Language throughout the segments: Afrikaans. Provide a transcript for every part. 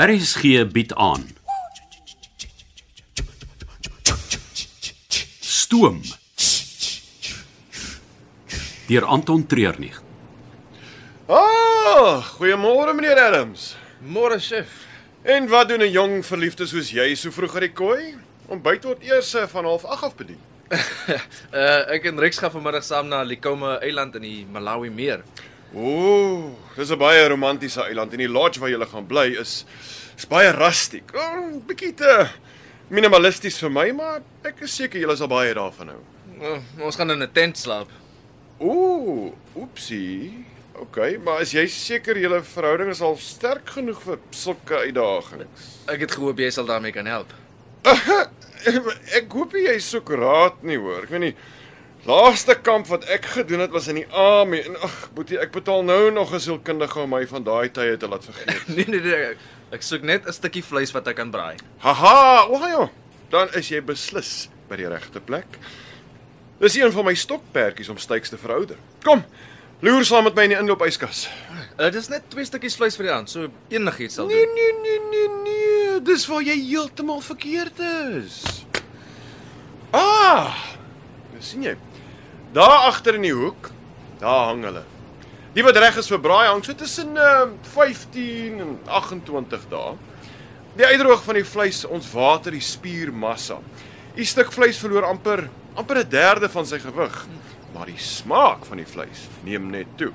RSG bied aan. Stoom. Deur Anton Treurnig. Ah, goeiemôre meneer Adams. Môre, chef. En wat doen 'n jong verliefde soos jy so vroeg uit die kooi? Ontbyt word eers eh, van half 8 af bedien. Uh ek en Rex gaan vanmiddag saam na Likoma eiland in die Malawi meer. Ooh, dis 'n baie romantiese eiland en die lodge waar jy gaan bly is, is baie rustiek. 'n oh, Bietjie te minimalisties vir my, maar ek is seker jy sal baie daarvan hou. Uh, ons gaan in 'n tent slaap. Ooh, oepsie. OK, maar is jy seker julle verhouding is al sterk genoeg vir sulke uitdagings? Ek het gehoop jy sal daarmee kan help. Ek hoop nie jy soek raad nie hoor. Ek weet nie. Laaste kamp wat ek gedoen het was in die Army en ag, boetie, ek betaal nou nog 'n sielkundige om my van daai tye te laat vergeet. nee nee nee. ek- Ek soek net 'n stukkie vleis wat ek kan braai. Haha, Ohio. Dan is jy beslis by die regte plek. Dis een van my stokperdjies om styks te verouder. Kom. Loer saam met my in die inloopyskas. Uh dis net twee stukkies vleis vir die aand, so enigiets sal Nee, doen. nee, nee, nee, nee. Dis waar jy heeltemal verkeerd is. Ah! Nou sien jy. Daar agter in die hoek, daar hang hulle. Die wat reg is vir braai hang so tussen uh, 15 en 28 dae. Die uitdroog van die vleis ons water die spiermassa. Die stuk vleis verloor amper amper 'n derde van sy gewig, maar die smaak van die vleis neem net toe.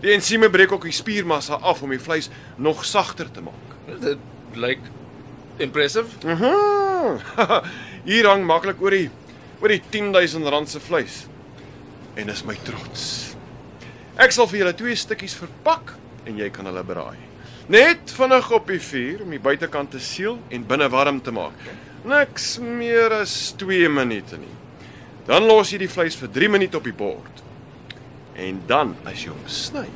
Die ensieme breek ook die spiermassa af om die vleis nog sagter te maak. Dit lyk impressive. Aha. Hier hang maklik oor die oor die 10000 rand se vleis. En dis my trots. Ek sal vir julle twee stukkies verpak en jy kan hulle braai. Net vinnig op die vuur om die buitekant te seël en binne warm te maak. Niks meer as 2 minute nie. Dan los jy die vleis vir 3 minute op die bord. En dan as jy hom sny,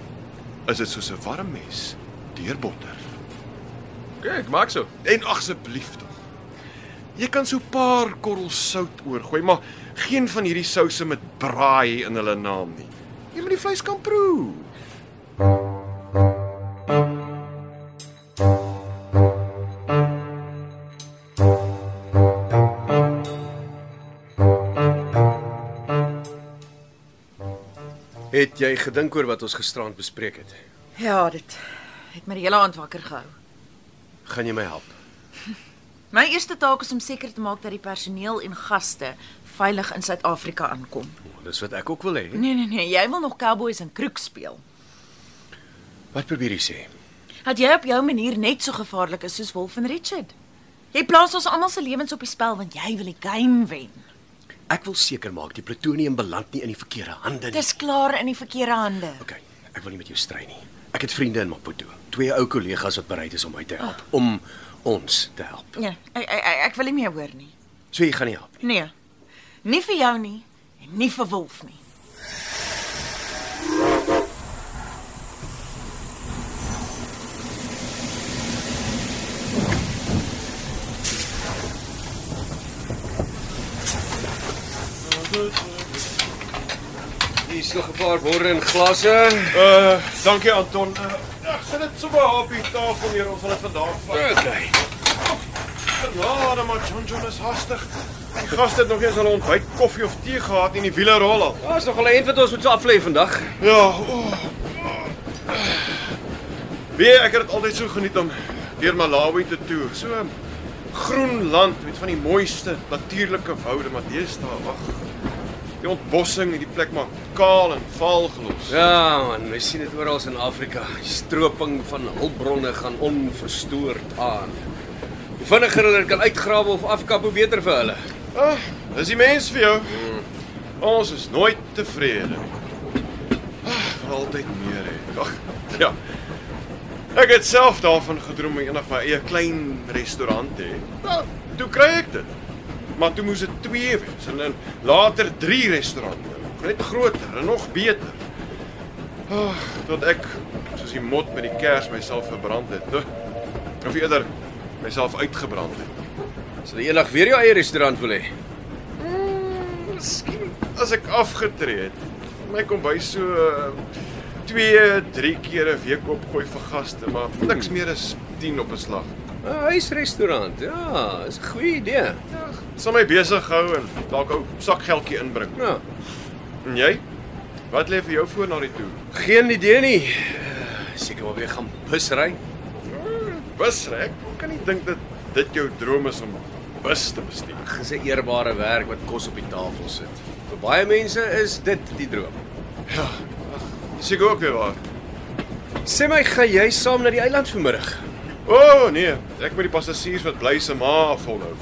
is dit soos 'n warm mes deur botter. Okay, ek maak so. En ag asseblief tog. Jy kan so 'n paar korrels sout oorgooi, maar geen van hierdie souse met braai in hulle naam nie. Jy moet die vleis kan proe. Het jy gedink oor wat ons gisteraand bespreek het? Ja, dit het my die hele aand wakker gehou. Gaan jy my help? My eerste taak is om seker te maak dat die personeel en gaste veilig in Suid-Afrika aankom. Oh, dis wat ek ook wil hê. Nee nee nee, jy wil nog cowboys en kroeg speel. Wat probeer jy sê? Dat jy op jou manier net so gevaarlik is soos Wolf en Richard. Jy plaas ons almal se lewens op die spel want jy wil die game wen. Ek wil seker maak die plutonium beland nie in die verkeerde hande nie. Dis klaar in die verkeerde hande. Okay, ek wil nie met jou stry nie. Ek het vriende in Maputo, twee ou kollegas wat bereid is om my te help, Ah. om ons te help. Nee, ek ek, ek- ek wil nie meer hoor nie. So jy gaan nie help nie. Nee. Nie vir jou nie en nie vir Wolf nie. Hier's nog 'n paar borde en glase. Uh, dankie Anton. Uh, ag, sit dit sommer op die tafel hier, ons wil dit vandag vat. Okay. Ja, dan maar John John is hastig. Die gas het nog eers al ontbyt koffie of tee gehad en die wiele rol al. Daar's nog 'n eind wat ons moet aflê vandag. Ja. Oh. Wie ek het dit altyd so geniet om deur Malawi te toer. So groen land met van die mooiste natuurlike woude, maar deesdae wag. Die ontbossing het die plek maar kaal en vaal gelos. Ja man, mens sien dit oral in Afrika. Die stroping van hulpbronne gaan onverstoord aan. Hoe vinniger hulle dit kan uitgrawe of afkap, hoe beter vir hulle. Ah, dis die mens vir jou. Ons is nooit tevrede. Ah, wil altyd meer hê. Ag, ja. Ek het self daarvan gedroom om eendag my eie klein restaurant te hê. Nou, toe kry ek dit. Maar toe moes dit 2 wees en dan later 3 restaurante. Net groter en nog beter. Ag, tot ek soos die mot met die kers myself verbrand het. Of eerder myself uitgebrand het. Sal jy eendag weer jou eie restaurant wil hê? Miskien as ek afgetree het. My kombuis eh, so 2, 3 keer 'n week opgooi vir gaste, maar niks meer is 10 op 'n slag. 'n Ah, Huisrestaurant. Ja, is 'n goeie idee. Dit sal my besig hou en dalk ook sakgeldjie inbring. Ja. En jy? Wat lê vir jou voor na die toer? Geen idee nie. Seker maar weer gaan bus ry. Busrek? Ek kan nie dink dat dit jou droom is om bus te bestuur. Dis 'n eerbare werk wat kos op die tafel sit. Vir baie mense is dit die droom. Dis ek ook weer waar. Sê my, gaan jy saam na die eiland vanmiddag? O oh, nee, ek moet die passasiers wat bly se ma volhou.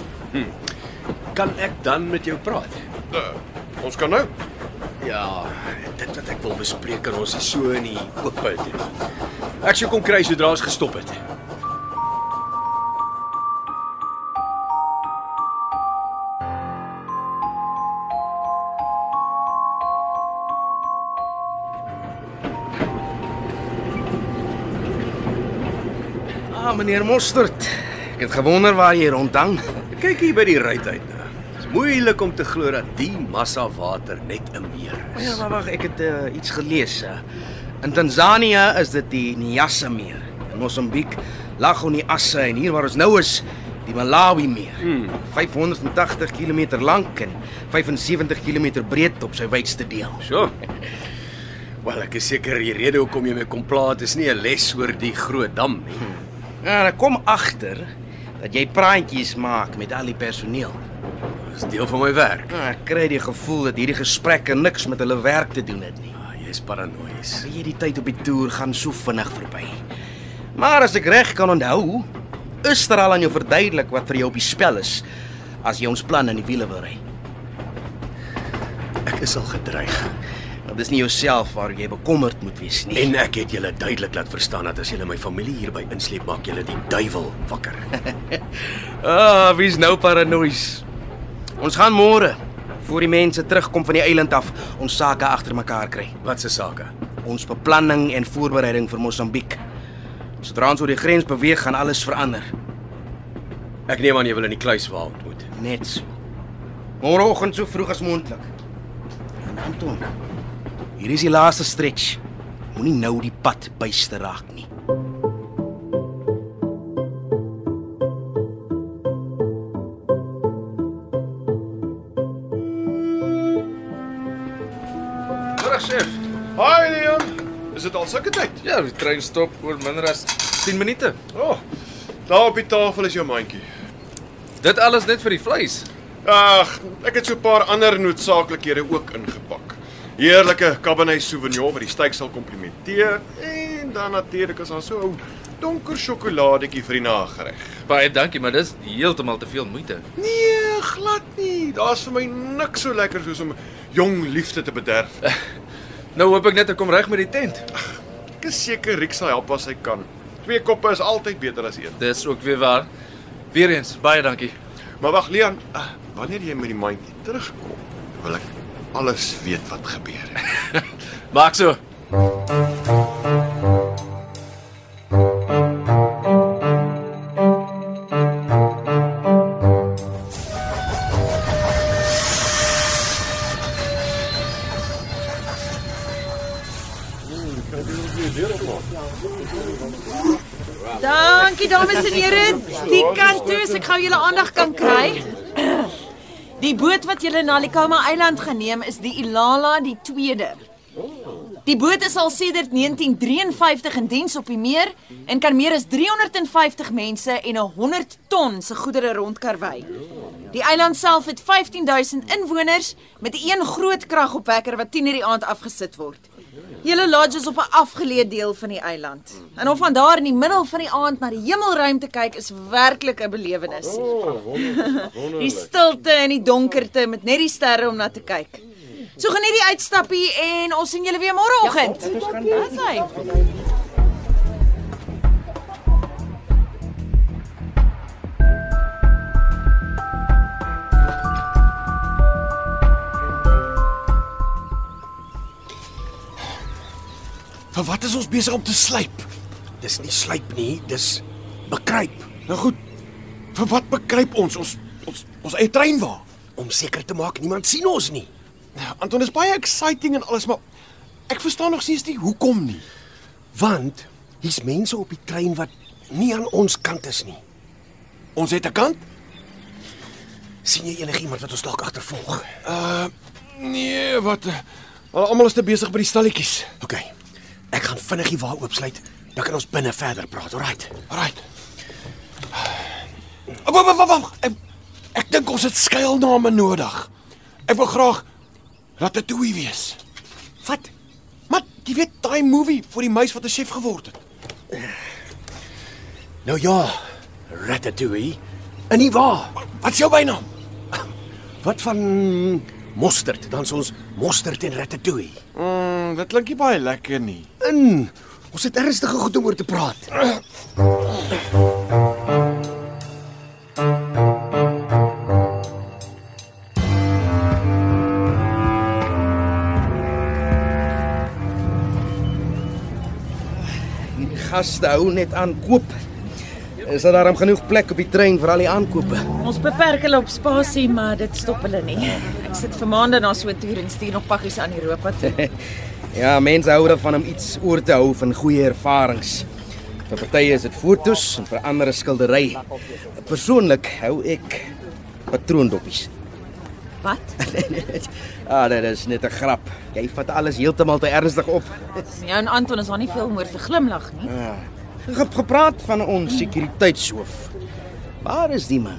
Kan ek dan met jou praat? Uh, ons kan nou. Ja, dit wat ek wil bespreek kan ons nie so in die oop uit nie. Ek sou kom kry sodra ons gestop het. Ah, meneer Mostert. Ek het gewonder waar jy rondhang. Kyk hier by die ruit uit nou. Dit is moeilik om te glo dat die massa water net 'n meer is. Ja, maar wag, ek het uh, iets gelees. Uh. In Tansanië is dit die Nyasa meer. In Mosambiek Lagoni Asse en hier waar ons nou is, die Malawi meer. Hmm. 580 km lank en 75 km breed op sy wydste deel. So. Wel, ek is seker die rede hoekom jy my kom plaat is nie 'n les oor die groot dam nie. Ja, En ek kom agter dat jy praatjies maak met al die personeel. Dit is deel van my werk. Nou, ek kry die gevoel dat hierdie gesprekke niks met hulle werk te doen het nie. Ah, Jy's paranoïes. Weet jy die tyd op die toer gaan so vinnig verby. Maar as ek reg kan onthou, is daar al aan jou verduidelik wat vir jou op die spel is as jy ons plan in die wiele wil ry. Ek is al gedreig. Dit is nie jouself waar jy bekommerd moet wees nie. En ek het julle duidelik laat verstaan dat as julle my familie hierby insleep, maak julle die duiwel wakker. ah, wie's nou paranoïes? Ons gaan môre voor die mense terugkom van die eiland af ons sake agter mekaar kry. Wat se sake? Ons beplanning en voorbereiding vir Mosambiek. Sodra ons oor die grens beweeg, gaan alles verander. Ek neem aan jy wil in die kluis waar ontmoet. Net so. Môreoggend so vroeg as moontlik. En Anton, hier is die laaste stretch. Moenie nou die pad byste raak nie. Middag chef. Hi Leon. Is dit al sulke tyd? Ja, die trein stop oor minder as 10 minute. O. Oh, daar op die tafel is jou mandjie. Dit alles net vir die vleis. Ag, ek het so 'n paar ander noodsaaklikhede ook ingepak. Heerlike Cabernet Sauvignon wat die steak sal komplimenteer en dan natuurlik is daar so 'n ou donker sjokoladetjie vir die nagereg. Baie dankie, maar dis heeltemal te veel moeite. Nee, glad nie. Daar's vir my niks so lekker soos om jong liefde te bederf. Nou hoop ek net ek kom reg met die tent. Ek is seker Rick sal help as hy kan. Twee koppe is altyd beter as een. Dis ook weer waar. Weereens baie dankie. Maar wag, Leon, ah, wanneer jy met die mandjie terugkom, wil ek alles weet wat gebeur het. Maak so. Dankie dames en here. Die kant toe as ek gou julle aandag kan kry. Die boot wat julle na Likama eiland geneem is die Ilala die 2de. Die boot is al sedert 1953 in diens op die meer en kan meer as 350 mense en 'n 100 ton se goedere rondkarwei. Die eiland self het 15000 inwoners met een groot kragopwekker wat 10:00 die aand afgesit word. Julle lodge is op 'n afgeleë deel van die eiland. En om van daar in die middel van die aand na die hemelruim te kyk is werklik 'n belewenis. Die stilte en die donkerte met net die sterre om na te kyk. So geniet die uitstappie en ons sien julle weer môreoggend. Dis hy. Vir wat is ons besig om te slyp? Dis nie slyp nie, dis bekruip Nou goed. Vir wat bekruip ons ons ons ons eie trein waar? om seker te maak niemand sien ons nie. Anton is baie exciting en alles, maar ek verstaan nog steeds nie hoekom nie. Want hier's mense op die trein wat nie aan ons kant is nie. Ons het 'n kant? sien jy enigiemand wat ons dalk agtervolg? Nee, wat? eh, Hulle almal is te besig by die stalletjies. OK. Ek gaan vinnig die wa oopsluit, dan kan ons binne verder praat. Alraight. Right. Wag, wag, wag, wag. Ek, ek dink ons het skuilname nodig. Ek wil graag Ratatouille wees. Wat? Maar jy weet daai movie vir die muis wat 'n chef geword het. Nou ja, Ratatouille. En nie waar? Wat is jou bynaam? Wat van mosterd? Dan sal ons mosterd en ratatouille. Mm, dit klink nie baie lekker nie. In. Ons het ernstige goed om oor te praat. Die gaste hou net aan koop. Is daar daarom genoeg plek op die trein vir al die aankope? Ons beperk hulle op spasie, maar dit stop hulle nie. Ek sit vir maande na so 'n toer en stuur nog pakkies aan Europa toe. Ja, mense hou daarvan om iets oor te hou van goeie ervarings. Vir partye is dit fotos en vir ander 'n skildery. Persoonlik hou ek patroondoppies. Wat? ah, dit is net 'n grap. Jy vat alles heeltemal te ernstig op. Jou Ja, en Anton is daar nie veel om oor te glimlag nie. Ge gepraat van ons sekuriteitshoof. Waar is die man?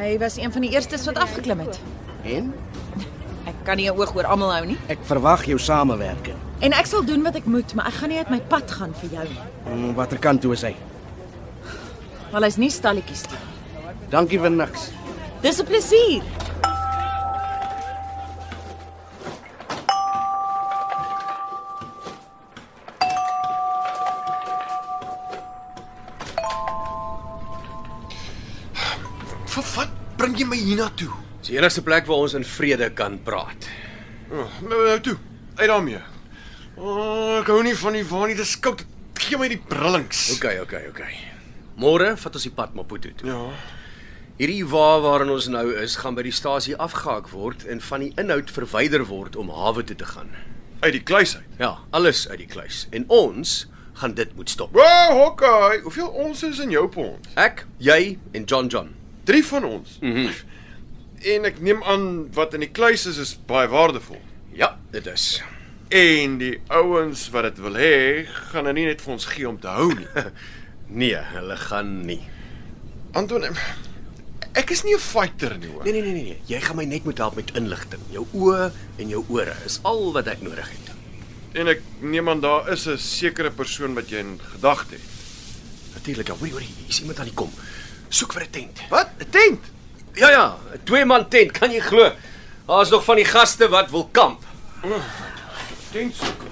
Hy was een van die eerstes wat afgeklim het. En Ek kan nie 'n oog oor almal hou nie. ek verwag jou samewerking. En ek sal doen wat ek moet, maar ek gaan nie uit my pad gaan vir jou nie. Hmm, Watter kant toe is hy? Want hy's nie stalletjies toe. Dankie vir niks. Dis 'n plesier. Vir wat bring jy my hiernatoe? Dis die enigste plek waar ons in vrede kan praat. Oh, nou nou toe. Uit daarmee. Oh, ek hou nie van die waar nie. Dis koud. Gee my die brillings. OK, OK, OK. Môre vat ons die pad Maputo toe. Ja. Hierdie wa waarin ons nou is, gaan by die stasie afgehaak word en van die inhoud verwyder word om hawe toe te gaan. Uit die kluis uit. Ja, alles uit die kluis. En ons gaan dit moet stop. Wow, hokkie. Hoeveel ons is in jou pond? Ek, jy en John John. 3 van ons. Mm -hmm. En ek neem aan wat in die kluis is is baie waardevol. Ja, dit is. En die ouens wat dit wil hê, gaan nou nie net vir ons gee om te hou nie. Nee, hulle gaan nie. Anton, ek is nie 'n fighter nie hoor. Nee nee nee nee, nee. jy gaan my net moet help met inligting. Jou oë en jou ore is al wat ek nodig het. En ek neem aan daar is 'n sekere persoon wat jy in gedagte het. Natuurlik, ja, hoorie, hoorie, is iemand aan die kom. Soek vir 'n tent. Wat? 'n Tent? Ja ja, 'n twee man tent, kan jy glo? Daar's nog van die gaste wat wil kamp. Tent soek.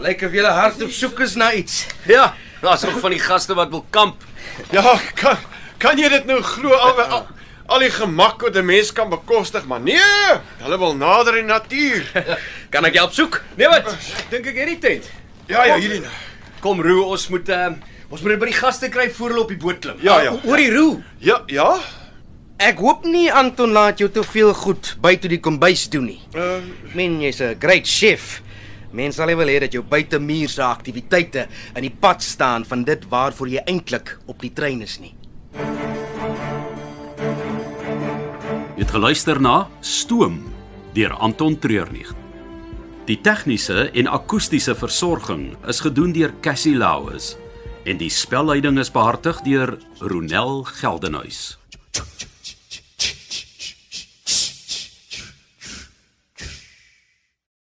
Lyk of jy hardop soek is na iets. Ja, daar's nog van die gaste wat wil kamp. Ja, kan kan jy dit nou glo al al, al die gemak wat 'n mens kan bekostig, maar nee, hulle wil nader die natuur. Kan ek jou opsoek? Nee wat? Ek Dink ek het die tent. Ja ja, hierdie. nou. Kom roe, ons moet uh, ons moet dit by die gaste kry voor hulle op die boot klim. Ja ja. Oor die roe. Ja ja. Ek hoop nie Anton laat jou te veel goed buite die kombuis doen nie. Uh, Ek meen jy's 'n great chef. Mense sal nie wil hê dat jou buitemuurse aktiwiteite in die pad staan van dit waarvoor jy eintlik op die trein is nie. Jy het geluister na Stoom deur Anton Treurnig. Die tegniese en akoestiese versorging is gedoen deur Cassie Lauis en die spelleiding is behartig deur Ronel Geldenhuys. Tjoe, tjoe,